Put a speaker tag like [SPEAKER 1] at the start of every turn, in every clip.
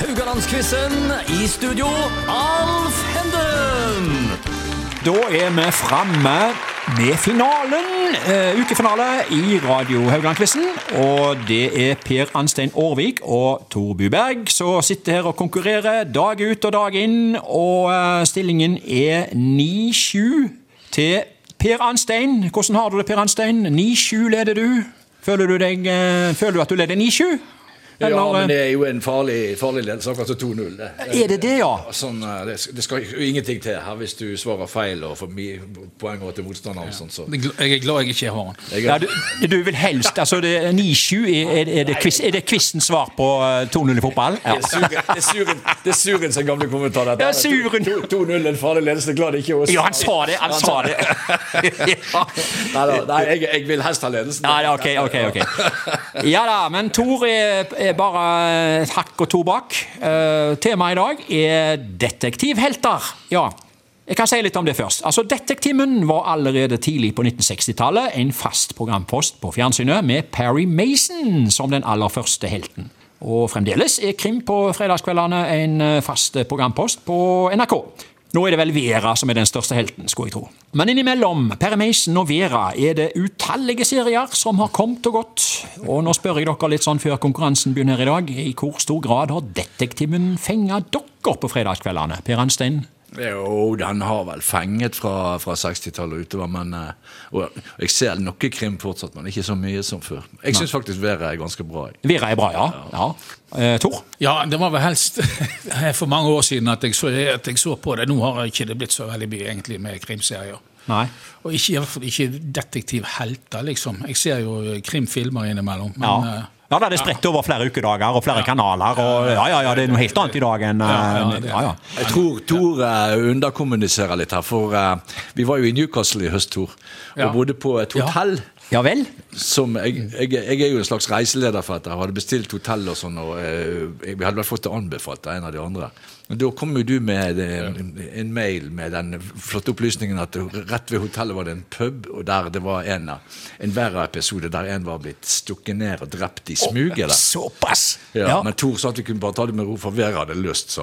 [SPEAKER 1] Rogalandsquizen. I studio, Alf Henden.
[SPEAKER 2] Da er vi framme med finalen. Eh, ukefinale i Radio Haugland-quizen. Og det er Per Anstein Aarvik og Tor Buberg som sitter her og konkurrerer dag ut og dag inn. Og eh, stillingen er 9-7 til Per Anstein. Hvordan har du det, Per Anstein? 9-7 leder du. Føler du, deg, eh, føler du at du leder 9-7?
[SPEAKER 3] Ja,
[SPEAKER 2] Eller,
[SPEAKER 3] men
[SPEAKER 2] eh,
[SPEAKER 3] det er jo en farlig, farlig ledelse, akkurat som 2-0. det.
[SPEAKER 2] Er det det, ja?
[SPEAKER 3] Sånn, eh, det, det skal jo ingenting til her hvis du svarer feil og får mi- poeng over til motstanderen. Sånn, så.
[SPEAKER 4] Jeg er glad jeg ikke har den.
[SPEAKER 3] Jeg
[SPEAKER 2] Ja,
[SPEAKER 3] er,
[SPEAKER 2] du, du vil helst altså det er 9-7 er, er, er det quiz, er det quizens svar på eh, 2-0 i fotball? Ja.
[SPEAKER 3] det er sugen- det er Suren- det er Suren sin gamle kommentar. dette.
[SPEAKER 2] Ja, Suren.
[SPEAKER 3] 2-0 en farlig ledelse, glad det ikke er oss.
[SPEAKER 2] Ja, han sa det! Han sa det.
[SPEAKER 3] Nei, da, nei jeg, jeg vil helst ha ledelsen.
[SPEAKER 2] Ja, ja, ok, ok, ok. Ja da, men Tor er, er bare et hakk og to bak. Eh, temaet i dag er detektivhelter. Ja. Jeg kan si litt om det først. Altså, Detektimen var allerede tidlig på 1960-tallet en fast programpost på fjernsynet med Parry Mason som den aller første helten. Og fremdeles er Krim på fredagskveldene en eh, fast programpost på NRK. Nå er det vel Vera som er den største helten, skulle jeg tro. Men innimellom Perry Mason og Vera er det utallige serier som har kommet og gått. Og nå spør jeg dere litt sånn før konkurransen begynner i dag, i hvor stor grad har detektiven fenga dere på fredagskveldene? Per Anstein?
[SPEAKER 3] Jo, den har vel fenget fra, fra 60-tallet og utover, men eh, og Jeg ser noe krim fortsatt, men ikke så mye som før. Jeg syns faktisk været er ganske bra. jeg.
[SPEAKER 2] Vera er bra, ja. ja. Eh, Tor?
[SPEAKER 4] Ja, det var vel helst for mange år siden at jeg, så, at jeg så på det. Nå har ikke det blitt så veldig mye egentlig med krimserier.
[SPEAKER 2] Nei.
[SPEAKER 4] Og ikke, i hvert fall ikke detektivhelter, liksom. Jeg ser jo krimfilmer innimellom. Men,
[SPEAKER 2] Ja.
[SPEAKER 4] eh,
[SPEAKER 2] Ja, da, Det er spredt over flere ukedager og flere kanaler. og ja, ja, ja, Det er noe helt annet i dag enn
[SPEAKER 4] Ja,
[SPEAKER 2] eh,
[SPEAKER 4] ja, det er-
[SPEAKER 2] ja, ja.
[SPEAKER 3] Jeg tror Tor eh, underkommuniserer litt her, for eh, vi var jo i Newcastle i høst, Tor, og
[SPEAKER 4] Ja.
[SPEAKER 3] bodde på et
[SPEAKER 4] Ja.
[SPEAKER 3] hotell.
[SPEAKER 2] ja vel?
[SPEAKER 3] Som jeg, jeg, jeg er jo en slags reiseleder for dette. Jeg hadde bestilt hotell og sånn, og eh, jeg hadde vel fått det anbefalt av en av de andre. Men da kom jo du med eh, en, en mail med den flotte opplysningen at rett ved hotellet var det en pub, og der det var en, en verre episode der en var blitt stukket ned og drept i smuget. der.
[SPEAKER 2] Såpass!
[SPEAKER 3] Ja,
[SPEAKER 2] Ja.
[SPEAKER 3] Men Tor sa at vi kunne bare ta det med ro, for Vera hadde lyst, så.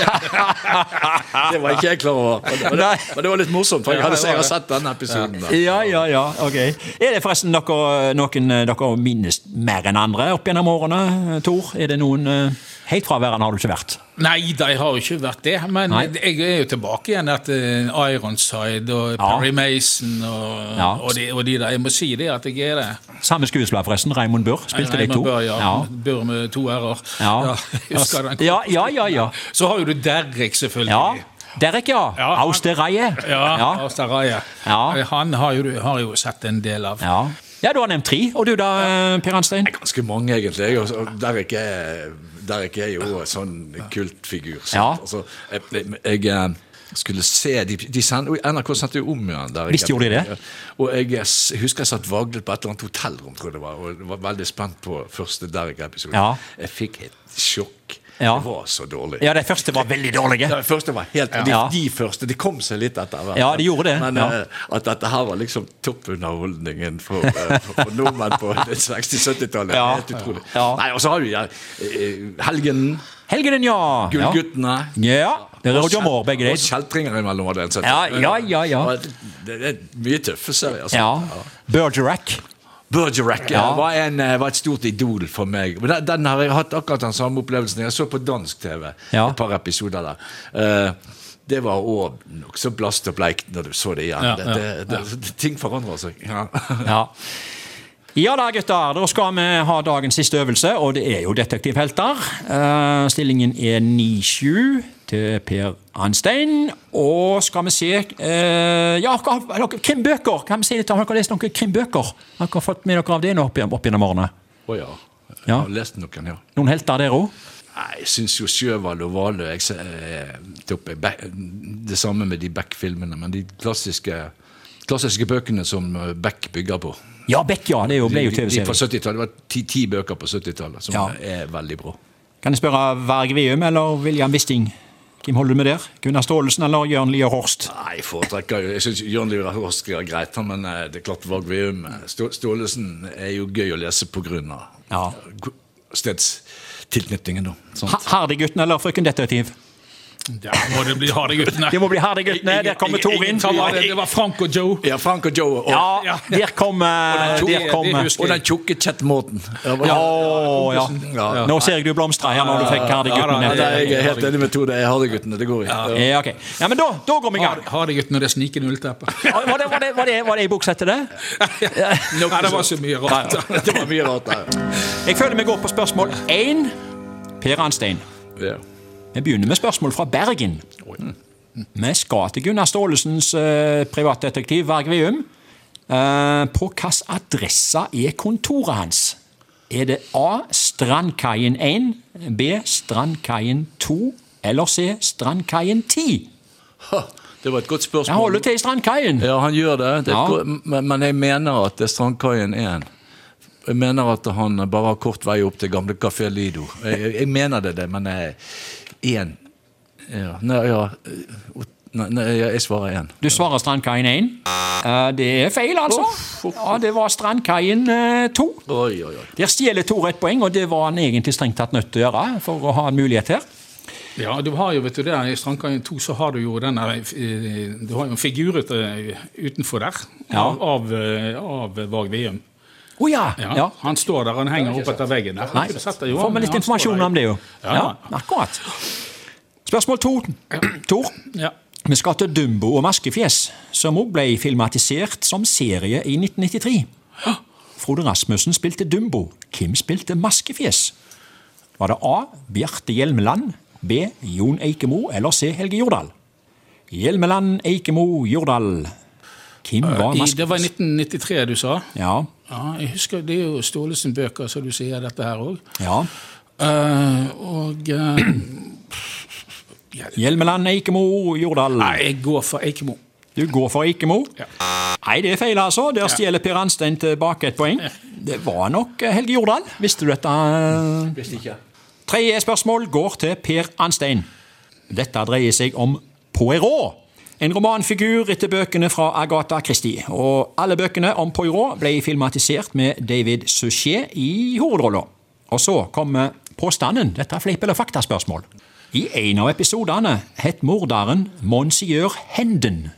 [SPEAKER 3] det var ikke jeg klar over. Men det, men det,
[SPEAKER 2] Nei.
[SPEAKER 3] men det var litt morsomt, for jeg,
[SPEAKER 4] Ja,
[SPEAKER 3] hadde,
[SPEAKER 4] det var
[SPEAKER 3] jeg har
[SPEAKER 4] det.
[SPEAKER 3] sett denne episoden. da.
[SPEAKER 2] Ja, ja, ja, ok. Er det forresten dere, noen eh, dere minnes mer enn andre opp gjennom årene, eh, Tor? Er det noen eh, Helt fraværende har du ikke vært.
[SPEAKER 4] Nei, de har jo ikke vært det. Men
[SPEAKER 2] Nei.
[SPEAKER 4] jeg er jo tilbake igjen til Ironside og
[SPEAKER 2] Ja.
[SPEAKER 4] Perry Mason og,
[SPEAKER 2] Ja.
[SPEAKER 4] og, de, og de der. Jeg må si det at jeg er det.
[SPEAKER 2] Samme skuespiller, forresten. Raymond Burr. Spilte deg to.
[SPEAKER 4] Bør, ja.
[SPEAKER 2] Ja.
[SPEAKER 4] Bør med to r-er.
[SPEAKER 2] Ja.
[SPEAKER 4] jeg husker den.
[SPEAKER 2] ja, ja, ja. ja.
[SPEAKER 4] Så har jo du Derrick,
[SPEAKER 2] ja.
[SPEAKER 4] selvfølgelig.
[SPEAKER 2] Derek, ja.
[SPEAKER 4] Ja, han-
[SPEAKER 2] Austereie.
[SPEAKER 4] Ja,
[SPEAKER 2] Ja.
[SPEAKER 4] Astaraja.
[SPEAKER 2] Ja.
[SPEAKER 4] Han har jo, du har jo sett en del av.
[SPEAKER 2] ja. Ja, du har nevnt tre. Og du da, eh, Per Anstein?
[SPEAKER 3] Ganske mange, egentlig. Jeg, og- og Derek er, Derek er jo en sånn kultfigur. sant?
[SPEAKER 2] Ja.
[SPEAKER 3] Altså, jeg, jeg, jeg eh, skulle se de, de send, oi, NRK sendte jo om igjen. Derek.
[SPEAKER 2] Visst gjorde de det?
[SPEAKER 3] Og jeg s- husker jeg satt vaglet på et eller annet hotellrom, tror jeg det var, og var veldig spent på første Derek-episode.
[SPEAKER 2] Ja.
[SPEAKER 3] Jeg fikk et sjokk.
[SPEAKER 2] Ja.
[SPEAKER 3] Det var så dårlig.
[SPEAKER 2] Ja, de første var veldig dårlige.
[SPEAKER 3] De første var helt de,
[SPEAKER 2] Ja.
[SPEAKER 3] de første. De kom seg litt etter hvert.
[SPEAKER 2] Ja, de gjorde det,
[SPEAKER 3] Men
[SPEAKER 2] ja.
[SPEAKER 3] eh, at dette her var liksom toppunderholdningen for, eh, for, for nordmenn på 60-70-tallet.
[SPEAKER 2] Ja.
[SPEAKER 3] Helt utrolig.
[SPEAKER 2] Ja.
[SPEAKER 3] Nei, Og så har du ja, eh, Helgen,
[SPEAKER 2] Helgenen, ja. Ja.
[SPEAKER 3] Gullguttene.
[SPEAKER 2] ja. Det er Roger Moore, begge
[SPEAKER 3] Og
[SPEAKER 2] de.
[SPEAKER 3] kjeltringer imellom. hadde jeg sett.
[SPEAKER 2] Ja, ja, ja, ja.
[SPEAKER 3] Og Det, det er mye tøffe serier.
[SPEAKER 2] Ja.
[SPEAKER 3] sant? Ja.
[SPEAKER 2] Bergerac.
[SPEAKER 3] Bergerac ja.
[SPEAKER 2] Ja.
[SPEAKER 3] var, en, eh, var et stort idol for meg. Men den, den har jeg hatt akkurat den samme opplevelsen. Jeg så på dansk TV
[SPEAKER 2] Ja.
[SPEAKER 3] et par episoder der. Eh, det var òg nokså blast og bleikt når du så det igjen.
[SPEAKER 4] Ja,
[SPEAKER 3] det,
[SPEAKER 4] ja,
[SPEAKER 3] det, det, ting forandrer seg. Ja.
[SPEAKER 2] Ja. Ja da, gutter. Da skal vi ha dagens siste øvelse, og det er jo detektivhelter. Eh, stillingen er 9-7 til Per Anstein. Og skal vi se eh, Ja, hva- dere- krimbøker! Kan vi si litt om Har dere lest noen krimbøker? Har dere fått med dere av det nå opp, igjen- opp gjennom årene?
[SPEAKER 3] Å ja. Jeg
[SPEAKER 2] Ja.
[SPEAKER 3] har lest noen, ja.
[SPEAKER 2] Noen helter der òg?
[SPEAKER 3] Nei, Jeg syns jo Sjøvall og Valø jeg, ser, eh, topp- eh, Beck- Det samme med de Beck-filmene, men de klassiske, klassiske bøkene som eh, Beck bygger på.
[SPEAKER 2] Ja, Beck, ja. Det er jo, ble jo
[SPEAKER 3] De- de- de
[SPEAKER 2] TV-serie.
[SPEAKER 3] fra 70-tallet. Det var ti, ti bøker på 70-tallet som
[SPEAKER 2] Ja.
[SPEAKER 3] er veldig bra.
[SPEAKER 2] Kan jeg spørre Varg Veum eller William Wisting? Hvem holder du med der? Gunnar Staalesen eller Jørn Lier Horst?
[SPEAKER 3] Nei, foretrekker jo Jeg syns Jørn Liver Horsk er greit, han, men eh, det er klart Varg Veum eh, Stå- Staalesen er jo gøy å lese på grunn av
[SPEAKER 2] Ja.
[SPEAKER 3] Go- stedstilknytningen, da. Sånn. Sant?
[SPEAKER 2] Ha- Hardygutten eller Frøken Detektiv?
[SPEAKER 4] Ja, må det bli harde guttene.
[SPEAKER 2] Det må bli Hardyguttene. Der kommer Tor inn.
[SPEAKER 4] Det var- det var Frank og Joe.
[SPEAKER 3] Ja, Frank og Joe. Og,
[SPEAKER 2] Ja, der kommer
[SPEAKER 4] to-
[SPEAKER 2] Der
[SPEAKER 4] de
[SPEAKER 2] kommer
[SPEAKER 4] husker-
[SPEAKER 3] og den tjukke Chet Morten. Ja,
[SPEAKER 2] Å, ja. Nå ser jeg du blomstrer her når du fikk Hardygutten
[SPEAKER 4] Ja,
[SPEAKER 3] Nei,
[SPEAKER 2] ned.
[SPEAKER 3] jeg er helt enig med Tore. Jeg har det, guttene. Det går ikke.
[SPEAKER 2] Ja, ok. ja, men da, da går vi i gang.
[SPEAKER 4] Harde guttene og det snikende ullteppet.
[SPEAKER 2] Var det, var det, var det, var det i buksettet, det?
[SPEAKER 4] Nei, det var så mye rart.
[SPEAKER 3] Det var mye rart der.
[SPEAKER 2] Jeg føler vi går på spørsmål én. Per Anstein.
[SPEAKER 3] Ja.
[SPEAKER 2] Vi begynner med spørsmål fra Bergen. Vi skal til Gunnar Staalesens eh, privatdetektiv Vargveum. Eh, på hvilken adresse er kontoret hans? Er det A. Strandkaien 1, B. Strandkaien 2 eller C. Strandkaien 10?
[SPEAKER 3] Ha, Det var et godt
[SPEAKER 2] Jeg holder
[SPEAKER 3] spørsmål.
[SPEAKER 2] til i Strandkaien.
[SPEAKER 3] Ja, han gjør det. det er
[SPEAKER 2] Ja.
[SPEAKER 3] et godt- men, men jeg mener at det er Strandkaien 1. Jeg mener at han bare har kort vei opp til gamle Kafé Lido. Jeg, jeg- jeg mener det, det, men jeg- én ja. Nei, ja. Nei, nei, ja, jeg svarer én.
[SPEAKER 2] Du svarer Strandkaien 1. Eh, det er feil, altså. Ja, det var Strandkaien eh, 2.
[SPEAKER 3] Oi, oi, oi.
[SPEAKER 2] Der stjeler Tore et poeng, og det var han egentlig strengt tatt nødt til å gjøre for å ha en mulighet her.
[SPEAKER 4] Ja, du har jo, vet du det, i Strandkaien 2 så har du jo denne eh, Du har jo en figur ut, eh, utenfor der
[SPEAKER 2] Ja.
[SPEAKER 4] av, av, eh, av Varg Veum.
[SPEAKER 2] Å ja.
[SPEAKER 4] Ja.
[SPEAKER 2] ja.
[SPEAKER 4] Han står der, han henger opp etter veggen der.
[SPEAKER 2] Nei,
[SPEAKER 4] Du setter jo
[SPEAKER 2] får
[SPEAKER 4] han-
[SPEAKER 2] vi litt
[SPEAKER 4] han står
[SPEAKER 2] informasjon
[SPEAKER 4] der.
[SPEAKER 2] om det, jo.
[SPEAKER 4] Ja.
[SPEAKER 2] Ja, akkurat. Spørsmål to. Tor.
[SPEAKER 4] Ja.
[SPEAKER 2] Vi skal til Dumbo og Maskefjes, som òg ble filmatisert som serie i 1993. Frode Rasmussen spilte Dumbo. Hvem spilte Maskefjes? Var det A. Bjarte Hjelmeland, B. Jon Eikemo eller C. Helge Jordal? Hjelmeland, Eikemo, Jordal. Hvem var
[SPEAKER 4] Øh, I, det var i
[SPEAKER 2] Maskefjes?
[SPEAKER 4] 1993 du sa?
[SPEAKER 2] Ja.
[SPEAKER 4] Ja, jeg husker, Det er jo Stålesen bøker, så du sier dette her òg.
[SPEAKER 2] ja.
[SPEAKER 4] og eh,
[SPEAKER 2] Hjelmeland, Eikemo, Jordal.
[SPEAKER 4] Nei, jeg går for Eikemo.
[SPEAKER 2] Du går for Eikemo?
[SPEAKER 4] Ja.
[SPEAKER 2] Nei, det er feil, altså. Der stjeler Per Anstein tilbake et poeng. Det var nok eh, Helge Jordal. Visste du dette?
[SPEAKER 3] Visste ikke.
[SPEAKER 2] Tredje spørsmål går til Per Anstein. Dette dreier seg om Poirot. En romanfigur etter bøkene fra Agatha Christie. Og alle bøkene om Poirot ble filmatisert med David Suchet i hovedrolla. Og så kommer påstanden. Dette er fleip- eller faktaspørsmål. I en av episodene het morderen Monsieur Henden.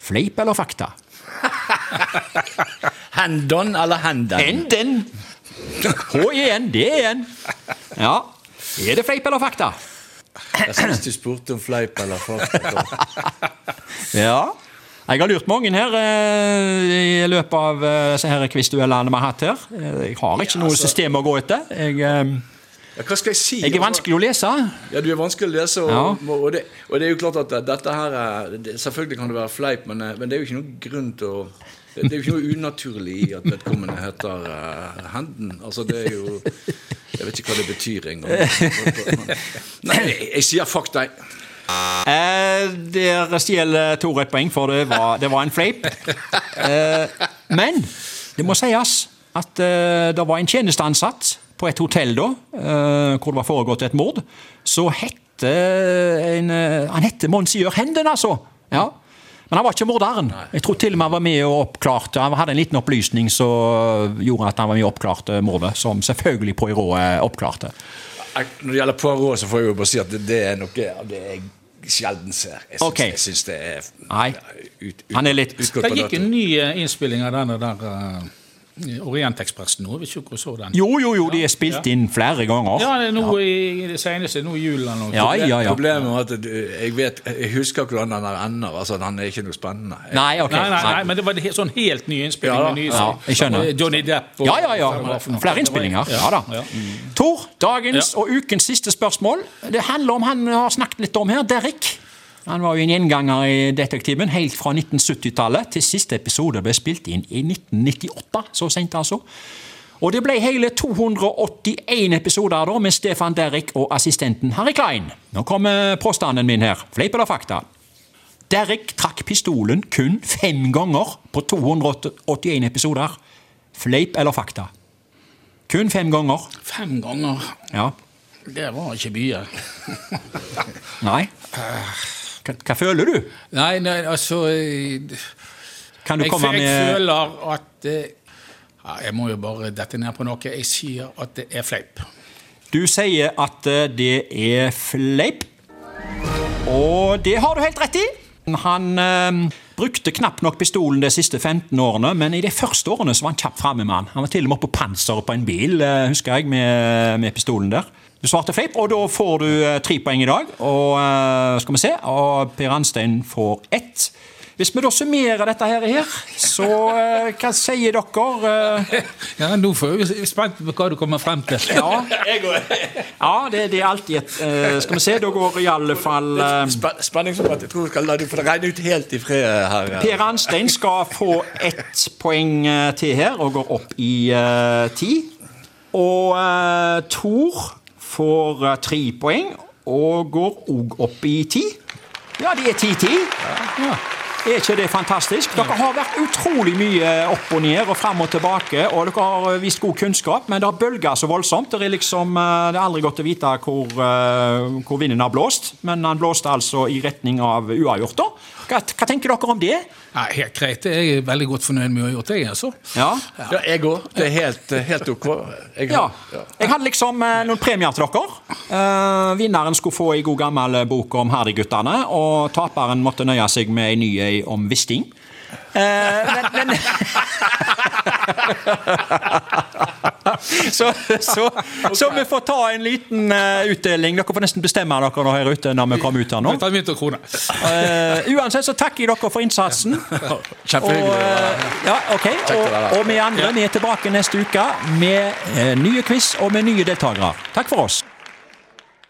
[SPEAKER 2] Fleip eller fakta?
[SPEAKER 3] Hendon eller Henden?
[SPEAKER 2] Henden! H-I-N, det er en. E Ja. Er det fleip eller fakta?
[SPEAKER 3] Jeg synes du spurte om fleip eller fakta.
[SPEAKER 2] Ja. Jeg har lurt mange her eh, i løpet av eh, disse her quizduellene vi har hatt her. Eh, Jeg har ikke noe system å gå etter. Jeg, eh,
[SPEAKER 3] Ja, hva skal jeg si?
[SPEAKER 2] jeg er vanskelig å lese.
[SPEAKER 3] Ja, du er vanskelig å lese, og,
[SPEAKER 2] Ja.
[SPEAKER 3] og, det, og det er jo klart at dette her er, det, Selvfølgelig kan det være fleip, men, eh, men det er jo ikke noen grunn til å Det det er jo ikke noe unaturlig i at vedkommende heter eh, Henden. Altså, det er jo Jeg vet ikke hva det betyr engang. Nei, jeg sier fakta.
[SPEAKER 2] Eh, der stjeler Tore et poeng, for det var, det var en fleip. Eh, men det må sies at eh, det var en tjenesteansatt på et hotell da, eh, hvor det var foregått et mord. Så hette en, eh, han hette Monsieur Henden, altså. Ja. Men han var ikke morderen. Jeg tror til og med han var med og oppklarte Han hadde en liten opplysning som gjorde at han var med og oppklarte mordet, som selvfølgelig Poirot oppklarte.
[SPEAKER 3] Jeg- Når det gjelder Poirot, så får jeg jo bare si at det, det er noe av det jeg sjelden ser. Jeg syns,
[SPEAKER 2] Ok.
[SPEAKER 3] jeg syns det er
[SPEAKER 2] Nei.
[SPEAKER 3] ut- ut-
[SPEAKER 2] Han er litt-
[SPEAKER 3] utgått
[SPEAKER 4] Det
[SPEAKER 3] på
[SPEAKER 4] gikk
[SPEAKER 3] dato.
[SPEAKER 4] en ny eh, innspilling av denne der eh, Orientekspressen nå. Vet ikke hvor så den.
[SPEAKER 2] Jo, jo, jo, de er spilt inn flere ganger.
[SPEAKER 4] Ja, det er nå i- i det seneste. Nå i julen eller noe.
[SPEAKER 2] Ja, ja, ja.
[SPEAKER 3] Problemet er at du, jeg, vet, jeg husker ikke hvordan den der ender. Altså, den er ikke noe spennende. Jeg,
[SPEAKER 2] Nei, ok.
[SPEAKER 4] Nei, nei, nei, men det var en he- sånn helt ny innspilling.
[SPEAKER 3] Ja,
[SPEAKER 4] med nye,
[SPEAKER 2] ja, jeg skjønner.
[SPEAKER 4] eh, Johnny Depp og
[SPEAKER 2] Ja, ja,
[SPEAKER 4] hva det var for
[SPEAKER 2] ja.
[SPEAKER 4] noe.
[SPEAKER 2] Flere innspillinger. Ja da.
[SPEAKER 4] Ja.
[SPEAKER 2] Tor, dagens og ukens siste spørsmål. Det handler om han vi har snakket litt om her, Derek. Han var jo en gjenganger i Detektiven helt fra 1970-tallet til siste episode ble spilt inn i 1998. Så sent, altså. Og det ble hele 281 episoder da med Stefan Derek og assistenten Harry Klein. Nå kommer påstanden min her. Fleip eller fakta? Derek trakk pistolen kun fem ganger på 281 episoder. Fleip eller fakta? Kun fem ganger.
[SPEAKER 4] Fem ganger.
[SPEAKER 2] Ja.
[SPEAKER 4] Det var ikke mye.
[SPEAKER 2] Nei.
[SPEAKER 4] Eh.
[SPEAKER 2] Hva, hva føler du?
[SPEAKER 4] Nei, nei, altså eh,
[SPEAKER 2] Kan du
[SPEAKER 4] jeg,
[SPEAKER 2] komme
[SPEAKER 4] jeg
[SPEAKER 2] med
[SPEAKER 4] føler at eh, ja, Jeg må jo bare dette ned på noe. Jeg sier at det er fleip.
[SPEAKER 2] Du sier at eh, det er fleip. Og det har du helt rett i. Han eh, brukte knapt nok pistolen de siste 15 årene, men i de første årene så var han kjapt framme med han. Han var til og med oppe på panseret på en bil, eh, husker jeg, med, med pistolen der. Du svarte fleip, og da får du eh, tre poeng i dag. Og eh, skal vi se, og Per Anstein får ett. Hvis vi da summerer dette her, her så eh, hva sier dere? Eh,
[SPEAKER 4] Ja, nå får jeg- jeg er spent på hva du kommer frem til.
[SPEAKER 2] ja. ja, det, det er alltid et eh, Skal vi se, da går i alle fall eh,
[SPEAKER 5] Spen Spenningsmoment. Jeg tror vi skal la du få regne ut helt i fred her. eh.
[SPEAKER 2] Per Anstein skal få ett poeng eh, til her og går opp i eh, ti. Og eh, Tor får eh, tre poeng og går òg opp i ti. Ja, det er ti-ti. Er ikke det fantastisk? Dere har vært utrolig mye opp og ned og fram og tilbake, og dere har eh, vist god kunnskap, men det har bølga så voldsomt. Det er liksom, eh, det er aldri godt å vite hvor, eh, hvor vinden har blåst, men han blåste altså i retning av uavgjort. da. Hva, hva tenker dere om det?
[SPEAKER 4] Nei, helt greit. Jeg er veldig godt fornøyd med å ha gjort det, jeg, altså.
[SPEAKER 2] Ja.
[SPEAKER 5] Ja, jeg òg. Det er helt, eh, helt OK. Jeg,
[SPEAKER 2] Ja. Jeg hadde liksom eh, noen premier til dere. Eh, vinneren skulle få ei god gammel bok om Hardy-guttene, og taperen måtte nøye seg med ei ny ei om Wisting. Eh, men, men så, så, så vi får ta en liten eh, utdeling. Dere får nesten bestemme dere nå her ute når vi kommer ut her nå.
[SPEAKER 4] Jeg tar mynt og krone.
[SPEAKER 2] Eh, uansett så takker jeg dere for innsatsen.
[SPEAKER 5] Kjempehyggelig.
[SPEAKER 2] Og, eh, ja,
[SPEAKER 5] å
[SPEAKER 2] ok.
[SPEAKER 5] være
[SPEAKER 2] Og,
[SPEAKER 5] her.
[SPEAKER 2] og vi andre vi er tilbake neste uke med eh, nye quiz og med nye deltakere. Takk for oss.